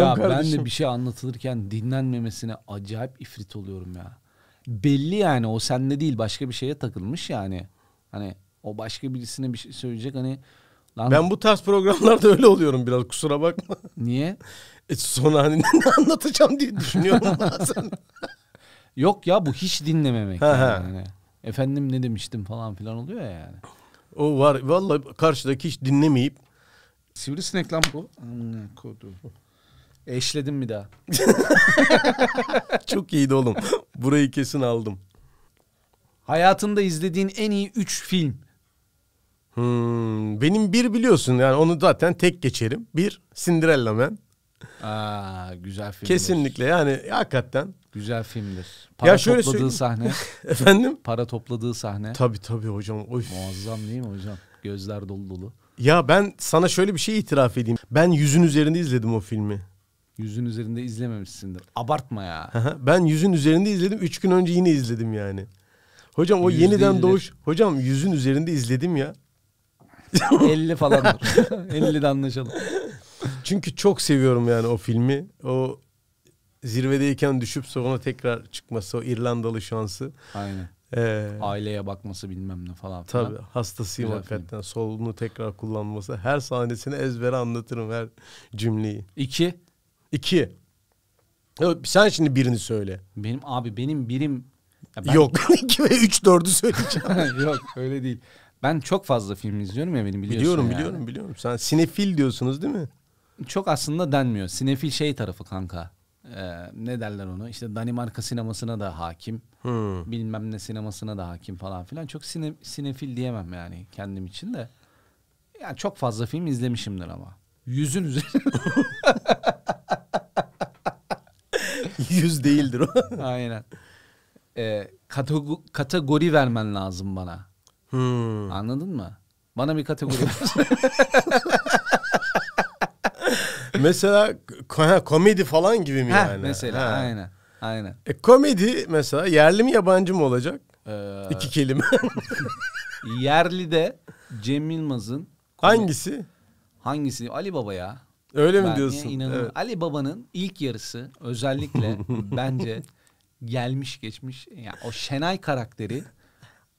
Speaker 1: ya
Speaker 2: kardeşim.
Speaker 1: ben de bir şey anlatılırken dinlenmemesine acayip ifrit oluyorum ya. Belli yani o sende değil başka bir şeye takılmış yani. Hani o başka birisine bir şey söyleyecek hani lan
Speaker 2: Ben bu tarz programlarda öyle oluyorum biraz kusura bakma.
Speaker 1: niye?
Speaker 2: E sonra hani ne anlatacağım diye düşünüyorum bazen.
Speaker 1: Yok ya bu hiç dinlememek
Speaker 2: Ha,
Speaker 1: yani.
Speaker 2: ha.
Speaker 1: Hani, Efendim ne demiştim falan filan oluyor ya yani.
Speaker 2: o var. Vallahi karşıdaki hiç dinlemeyip.
Speaker 1: Sivrisinek lan bu. Amına kodum. Eşledim bir daha.
Speaker 2: Çok iyiydi oğlum. Burayı kesin aldım.
Speaker 1: Hayatında izlediğin en iyi 3 film.
Speaker 2: Hmm, benim bir biliyorsun yani onu zaten tek geçerim. Bir Cinderella Man.
Speaker 1: Aa güzel filmdir.
Speaker 2: Kesinlikle yani hakikaten.
Speaker 1: Güzel filmdir. Para
Speaker 2: Ya şöyle
Speaker 1: topladığı
Speaker 2: söyleyeyim.
Speaker 1: sahne.
Speaker 2: Efendim?
Speaker 1: Para topladığı sahne.
Speaker 2: Tabii tabii hocam. Oy.
Speaker 1: Muazzam değil mi hocam? Gözler dolu dolu.
Speaker 2: Ya ben sana şöyle bir şey itiraf edeyim. Ben yüzün üzerinde izledim o filmi.
Speaker 1: Yüzün üzerinde izlememişsindir. Abartma ya.
Speaker 2: Aha, ben yüzün üzerinde izledim. Üç gün önce yine izledim yani. Hocam o
Speaker 1: Yüzde
Speaker 2: yeniden
Speaker 1: izle.
Speaker 2: doğuş. Hocam yüzün üzerinde izledim ya.
Speaker 1: 50 falandır. 50'de anlaşalım.
Speaker 2: Çünkü çok seviyorum yani o filmi. O zirvedeyken düşüp sonra tekrar çıkması. O İrlandalı şansı.
Speaker 1: Aynen.
Speaker 2: Ee,
Speaker 1: Aileye bakması bilmem ne falan filan.
Speaker 2: tabii hastasıyım
Speaker 1: Güzel
Speaker 2: hakikaten. Solunu tekrar kullanması. Her sahnesini ezbere anlatırım her cümleyi.
Speaker 1: İki.
Speaker 2: İki. Ya Sen şimdi birini söyle.
Speaker 1: Benim abi benim birim. Ya ben-
Speaker 2: Yok. İki ve üç dördü söyleyeceğim.
Speaker 1: Yok öyle değil. Ben çok fazla film izliyorum ya benim biliyorsun
Speaker 2: biliyorum
Speaker 1: yani.
Speaker 2: biliyorum biliyorum. Sen sinefil diyorsunuz değil mi?
Speaker 1: Çok aslında denmiyor. Sinefil şey tarafı kanka. Ee, ne derler onu? İşte Danimarka sinemasına da hakim.
Speaker 2: Hmm.
Speaker 1: Bilmem ne sinemasına da hakim falan filan. Çok sine, sinefil diyemem yani kendim için de. Yani çok fazla film izlemişimdir ama. Yüzün üzerinde.
Speaker 2: Yüz değildir o.
Speaker 1: Aynen. Ee, kategori, kategori vermen lazım bana.
Speaker 2: Hmm.
Speaker 1: Anladın mı? Bana bir kategori ver.
Speaker 2: mesela ko- ha, komedi falan gibi mi
Speaker 1: Heh,
Speaker 2: yani?
Speaker 1: mesela
Speaker 2: Ha.
Speaker 1: aynen. Aynen.
Speaker 2: E, komedi mesela yerli mi yabancı mı olacak?
Speaker 1: Ee,
Speaker 2: İki kelime.
Speaker 1: Yerli de Cem Yılmaz'ın
Speaker 2: Hangisi?
Speaker 1: hangisi? Ali Baba ya.
Speaker 2: Öyle mi
Speaker 1: Ben
Speaker 2: diyorsun?
Speaker 1: inanamıyorum.
Speaker 2: Evet.
Speaker 1: Ali Baba'nın ilk yarısı özellikle bence gelmiş geçmiş ya o Şenay karakteri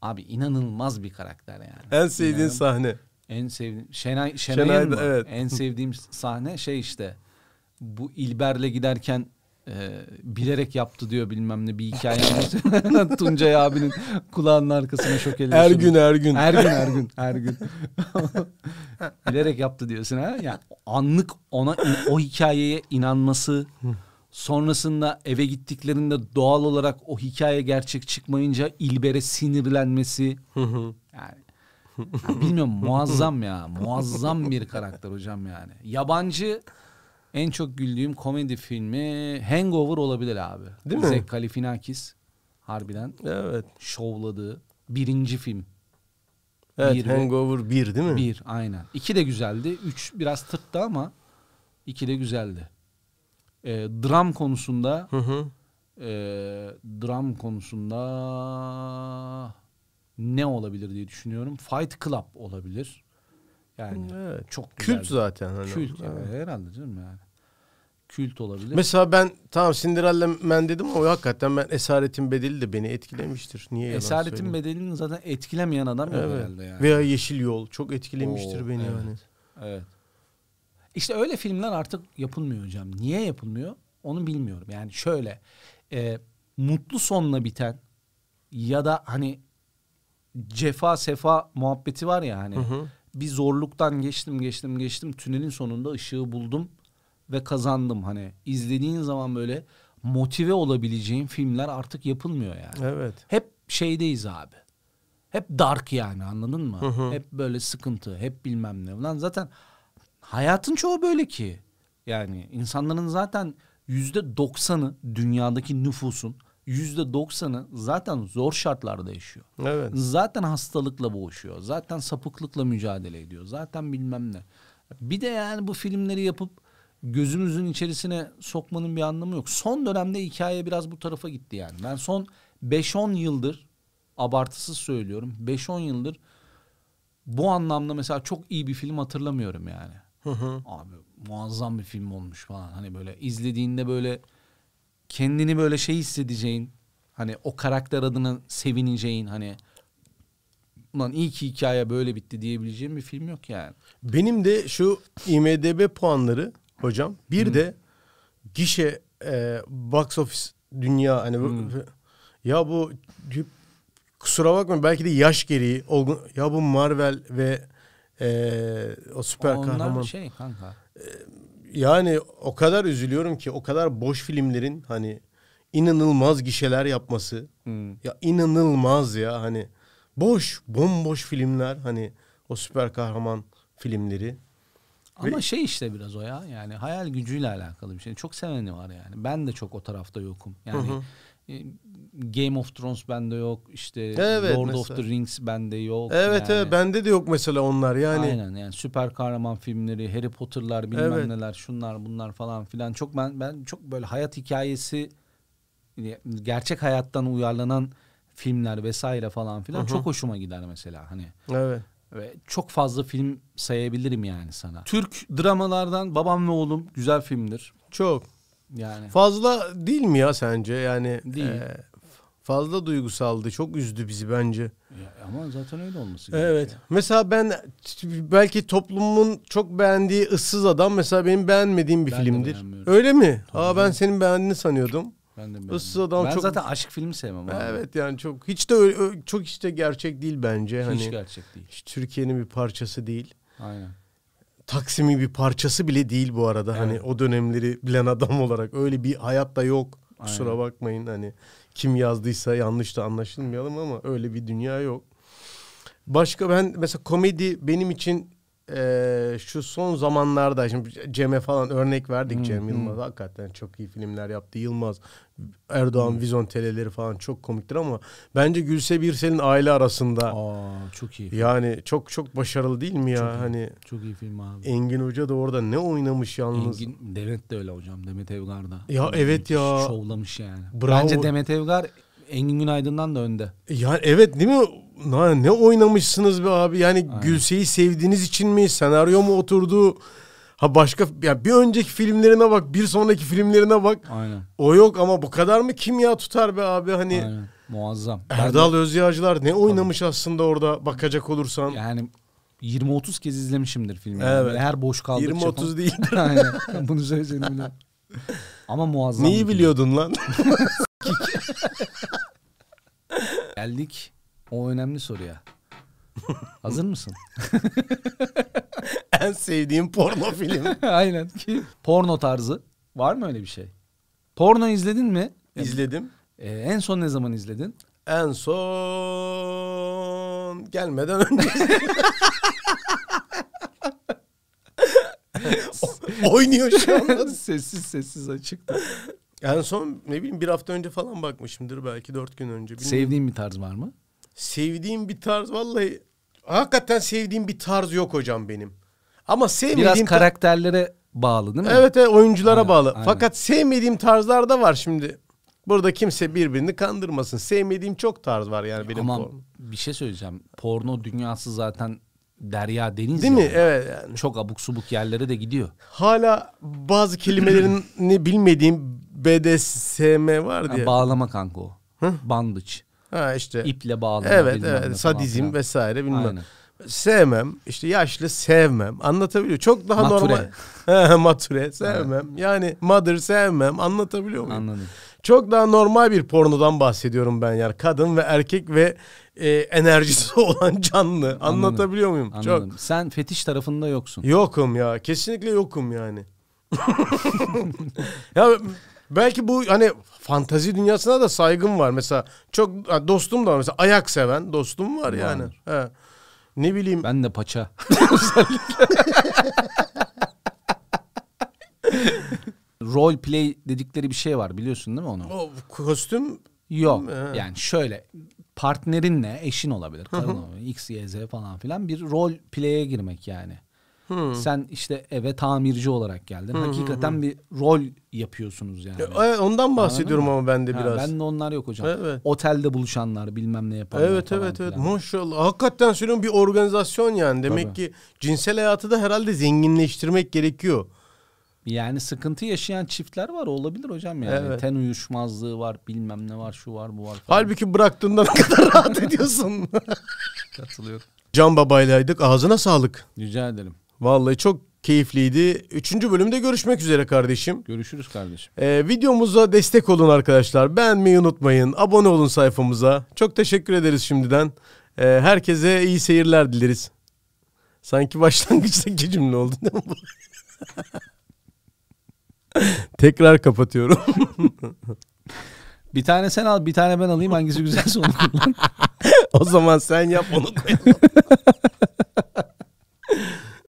Speaker 1: abi inanılmaz bir karakter yani.
Speaker 2: En sevdiğin
Speaker 1: İnanın-
Speaker 2: sahne.
Speaker 1: En sevdiğim Şenay
Speaker 2: Şenay
Speaker 1: Şenay'ın
Speaker 2: da,
Speaker 1: mı?
Speaker 2: evet.
Speaker 1: en sevdiğim sahne şey işte bu İlber'le giderken e, bilerek yaptı diyor bilmem ne bir hikaye anlatıyor. Tuncay abinin kulağının arkasına şok ediyor.
Speaker 2: Ergün Ergün.
Speaker 1: Her Er gün her gün her gün. Bilerek yaptı diyorsun ha. Yani anlık ona o hikayeye inanması sonrasında eve gittiklerinde doğal olarak o hikaye gerçek çıkmayınca İlber'e sinirlenmesi. Yani ya bilmiyorum muazzam ya. Muazzam bir karakter hocam yani. Yabancı en çok güldüğüm komedi filmi Hangover olabilir abi.
Speaker 2: Değil mi?
Speaker 1: Zach Galifianakis harbiden
Speaker 2: Evet.
Speaker 1: şovladığı birinci film.
Speaker 2: Evet
Speaker 1: Bir ve-
Speaker 2: Hangover 1 değil mi?
Speaker 1: Bir aynen. İki de güzeldi. Üç biraz tırttı ama iki de güzeldi. Ee, dram konusunda
Speaker 2: Hı hı.
Speaker 1: ee, dram konusunda ne olabilir diye düşünüyorum. Fight Club olabilir. Yani
Speaker 2: Evet.
Speaker 1: çok güzel.
Speaker 2: Kült zaten. Hani.
Speaker 1: Kült
Speaker 2: Evet.
Speaker 1: yani, herhalde canım yani. Kült olabilir.
Speaker 2: Mesela ben tamam Cinderella Man dedim ama hakikaten ben Esaretin Bedeli de beni etkilemiştir. Niye yalan
Speaker 1: Esaretin
Speaker 2: söyleyeyim?
Speaker 1: bedelini zaten etkilemeyen adam yok
Speaker 2: Evet.
Speaker 1: herhalde yani.
Speaker 2: Veya Yeşil Yol çok etkilemiştir
Speaker 1: Oo,
Speaker 2: beni hani.
Speaker 1: evet.
Speaker 2: yani.
Speaker 1: Evet. İşte öyle filmler artık yapılmıyor hocam. Niye yapılmıyor? Onu bilmiyorum. Yani şöyle e, mutlu sonla biten ya da hani cefa sefa muhabbeti var ya hani bir zorluktan geçtim geçtim geçtim tünelin sonunda ışığı buldum ve kazandım hani izlediğin zaman böyle motive olabileceğin filmler artık yapılmıyor yani.
Speaker 2: Evet.
Speaker 1: Hep şeydeyiz abi. Hep dark yani anladın mı? Hep böyle sıkıntı, hep bilmem ne. Lan zaten hayatın çoğu böyle ki. Yani insanların zaten yüzde doksanı dünyadaki nüfusun yüzde doksanı zaten zor şartlarda yaşıyor.
Speaker 2: Evet.
Speaker 1: Zaten hastalıkla boğuşuyor. Zaten sapıklıkla mücadele ediyor. Zaten bilmem ne. Bir de yani bu filmleri yapıp gözümüzün içerisine sokmanın bir anlamı yok. Son dönemde hikaye biraz bu tarafa gitti yani. Ben son 5-10 yıldır abartısız söylüyorum. 5-10 yıldır bu anlamda mesela çok iyi bir film hatırlamıyorum yani. Abi muazzam bir film olmuş falan. Hani böyle izlediğinde böyle kendini böyle şey hissedeceğin hani o karakter adına sevineceğin hani ulan iyi ki hikaye böyle bitti diyebileceğim bir film yok yani.
Speaker 2: Benim de şu IMDB puanları hocam bir de gişe e, box office dünya hani bu- ya bu kusura bakma belki de yaş gereği olgun ya bu Marvel ve e, o süper
Speaker 1: Onlar
Speaker 2: kahraman
Speaker 1: şey kanka.
Speaker 2: yani o kadar üzülüyorum ki o kadar boş filmlerin hani inanılmaz gişeler yapması. Ya inanılmaz ya hani boş bomboş filmler hani o süper kahraman filmleri.
Speaker 1: Ama şey işte biraz o ya yani hayal gücüyle alakalı bir şey. Çok seveni var yani. Ben de çok o tarafta yokum. Yani e, Game of Thrones bende yok. İşte
Speaker 2: Evet,
Speaker 1: Lord of
Speaker 2: mesela.
Speaker 1: the Rings bende yok.
Speaker 2: Evet
Speaker 1: yani.
Speaker 2: evet bende de hani- yok mesela onlar yani.
Speaker 1: Aynen yani süper kahraman filmleri, Harry Potter'lar bilmem
Speaker 2: Evet.
Speaker 1: neler, şunlar bunlar falan filan. Çok ben ben çok böyle hayat hikayesi e, gerçek hayattan uyarlanan filmler vesaire falan filan çok hoşuma gider mesela hani.
Speaker 2: Evet.
Speaker 1: Ve çok fazla film sayabilirim yani sana. Türk dramalardan Babam ve Oğlum güzel filmdir.
Speaker 2: Çok.
Speaker 1: Yani
Speaker 2: Fazla değil mi ya sence? Yani
Speaker 1: Değil.
Speaker 2: e, fazla duygusaldı. Çok üzdü bizi bence.
Speaker 1: Ya ama zaten öyle olması gerekiyor.
Speaker 2: Evet. Mesela ben t- belki toplumun çok beğendiği ıssız adam mesela benim beğenmediğim bir
Speaker 1: Ben de
Speaker 2: filmdir.
Speaker 1: beğenmiyorum.
Speaker 2: Öyle mi? Aa ben senin beğendiğini sanıyordum.
Speaker 1: Ben de beğendim.
Speaker 2: Issız Adam
Speaker 1: ben
Speaker 2: çok-
Speaker 1: zaten aşk filmi sevmem abi.
Speaker 2: Evet yani çok hiç de ö- ö- çok hiç de gerçek değil bence
Speaker 1: Hiç
Speaker 2: hani.
Speaker 1: gerçek değil.
Speaker 2: Hiç Türkiye'nin bir parçası değil.
Speaker 1: Aynen.
Speaker 2: Taksim'in bir parçası bile değil bu arada. Hani o dönemleri bilen adam olarak öyle bir hayat da yok. Kusura
Speaker 1: Aynen.
Speaker 2: bakmayın hani kim yazdıysa yanlış da anlaşılmayalım ama öyle bir dünya yok. Başka ben mesela komedi benim için eee, şu son zamanlarda şimdi Cem'e falan örnek verdik
Speaker 1: Hmm,
Speaker 2: Cem Yılmaz hakikaten çok iyi filmler yaptı. Yılmaz, Erdoğan,
Speaker 1: Hmm.
Speaker 2: Vizon teleleri falan çok komiktir ama bence Gülse Birsel'in aile arasında
Speaker 1: Aa çok iyi.
Speaker 2: yani çok çok başarılı değil mi ya hani
Speaker 1: Çok iyi film abi.
Speaker 2: Engin Hoca da orada ne oynamış yalnız.
Speaker 1: Engin Demet de öyle hocam Demet Evgar da.
Speaker 2: Ya evet ya.
Speaker 1: Şovlamış yani.
Speaker 2: Bravo.
Speaker 1: Bence Demet Evgar Engin Günaydın'dan da önde.
Speaker 2: Yani E, evet değil mi? Na- Ne oynamışsınız be abi? Yani Gülse'yi sevdiğiniz için mi? Senaryo mu oturdu? Ha başka ya bir önceki filmlerine bak, bir sonraki filmlerine bak.
Speaker 1: Aynen.
Speaker 2: O yok ama bu kadar mı kimya tutar be abi? Hani
Speaker 1: Aynen. Muazzam. Ben
Speaker 2: Erdal Özyağcılar ne oynamış aslında orada bakacak olursan.
Speaker 1: de yani 20-30 kez izlemişimdir filmi.
Speaker 2: Evet.
Speaker 1: Yani böyle her boş kaldıkça.
Speaker 2: 20-30
Speaker 1: falan.
Speaker 2: değil.
Speaker 1: Aynen. Bunu söyleyeceğini biliyorum. Ama muazzam. bir
Speaker 2: Neyi
Speaker 1: film.
Speaker 2: biliyordun lan?
Speaker 1: Geldik o önemli soruya. Hazır mısın?
Speaker 2: en sevdiğim porno film.
Speaker 1: Aynen. Ki Porno tarzı. Var mı öyle bir şey? Porno izledin mi?
Speaker 2: İzledim.
Speaker 1: Ee, en son ne zaman izledin?
Speaker 2: En son gelmeden önce. O- Oynuyor şu anda.
Speaker 1: sessiz sessiz açık.
Speaker 2: En son ne bileyim bir hafta önce falan bakmışımdır belki dört gün önce. bilmiyorum.
Speaker 1: Sevdiğin bir tarz var mı?
Speaker 2: sevdiğim bir tarz vallahi hakikaten sevdiğim bir tarz yok hocam benim. Ama sevmediğim
Speaker 1: Biraz karakterlere bağlı değil mi?
Speaker 2: Evet evet oyunculara
Speaker 1: Aynen,
Speaker 2: bağlı.
Speaker 1: aynen.
Speaker 2: Fakat sevmediğim tarzlar da var şimdi. Burada kimse birbirini kandırmasın. Sevmediğim çok tarz var yani benim.
Speaker 1: Ama
Speaker 2: form-
Speaker 1: bir şey söyleyeceğim. Porno dünyası zaten derya deniz
Speaker 2: Değil
Speaker 1: ya.
Speaker 2: mi? Evet yani.
Speaker 1: Çok abuk subuk yerlere de gidiyor.
Speaker 2: Hala bazı kelimelerini bilmediğim BDSM var
Speaker 1: Ha,
Speaker 2: diye.
Speaker 1: bağlama kanka o. Bandıç.
Speaker 2: Ha işte.
Speaker 1: İple bağlama.
Speaker 2: evet
Speaker 1: bilmem ne falan
Speaker 2: evet sadizm
Speaker 1: filan.
Speaker 2: vesaire bilmem.
Speaker 1: Aynen.
Speaker 2: sevmem. İşte yaşlı sevmem. Anlatabiliyor. Çok daha
Speaker 1: Mature.
Speaker 2: normal. Mature sevmem. Yani mother sevmem. Anlatabiliyor muyum?
Speaker 1: Anladım.
Speaker 2: Çok daha normal bir pornodan bahsediyorum ben yani. Kadın ve erkek ve e, enerjisi olan canlı. Anlatabiliyor muyum?
Speaker 1: Anladım. Sen fetiş tarafında yoksun.
Speaker 2: Çok. Yokum ya. Kesinlikle yokum yani. ya belki bu hani fantazi dünyasına da saygım var. Mesela çok ha, dostum da var. Mesela ayak seven dostum var yani.
Speaker 1: Var.
Speaker 2: He. Ne bileyim.
Speaker 1: Ben de paça. Role play dedikleri bir şey var biliyorsun değil mi onu?
Speaker 2: O kostüm
Speaker 1: Yok. Yani şöyle partnerinle eşin olabilir, karın olabilir, X, Y, Z falan filan bir rol play'e girmek yani. Sen işte eve tamirci olarak geldin. Hakikaten bir rol yapıyorsunuz yani.
Speaker 2: e, ondan bahsediyorum
Speaker 1: Anladın
Speaker 2: ama ben de
Speaker 1: Ha,
Speaker 2: biraz.
Speaker 1: Ben de onlar yok hocam.
Speaker 2: Evet.
Speaker 1: Otelde buluşanlar bilmem ne yapanlar
Speaker 2: Evet
Speaker 1: falan
Speaker 2: evet evet
Speaker 1: filan.
Speaker 2: maşallah. Hakikaten söylüyorum bir organizasyon yani. Demek
Speaker 1: Tabii.
Speaker 2: ki cinsel hayatı da herhalde zenginleştirmek gerekiyor.
Speaker 1: Yani sıkıntı yaşayan çiftler var olabilir hocam yani.
Speaker 2: Evet.
Speaker 1: Ten uyuşmazlığı var bilmem ne var şu var bu var falan.
Speaker 2: Halbuki bıraktığında ne kadar rahat ediyorsun.
Speaker 1: Katılıyorum.
Speaker 2: Can babaylaydık. Ağzına sağlık.
Speaker 1: Rica ederim.
Speaker 2: Vallahi çok keyifliydi. Üçüncü bölümde görüşmek üzere kardeşim.
Speaker 1: Görüşürüz kardeşim.
Speaker 2: Ee, videomuza destek olun arkadaşlar. Beğenmeyi unutmayın. Abone olun sayfamıza. Çok teşekkür ederiz şimdiden. Ee, herkese iyi seyirler dileriz. Sanki başlangıçtaki cümle oldu değil mi bu? Tekrar kapatıyorum.
Speaker 1: Bir tane sen al bir tane ben alayım hangisi güzelse onu kullan.
Speaker 2: o zaman sen yap onu koy.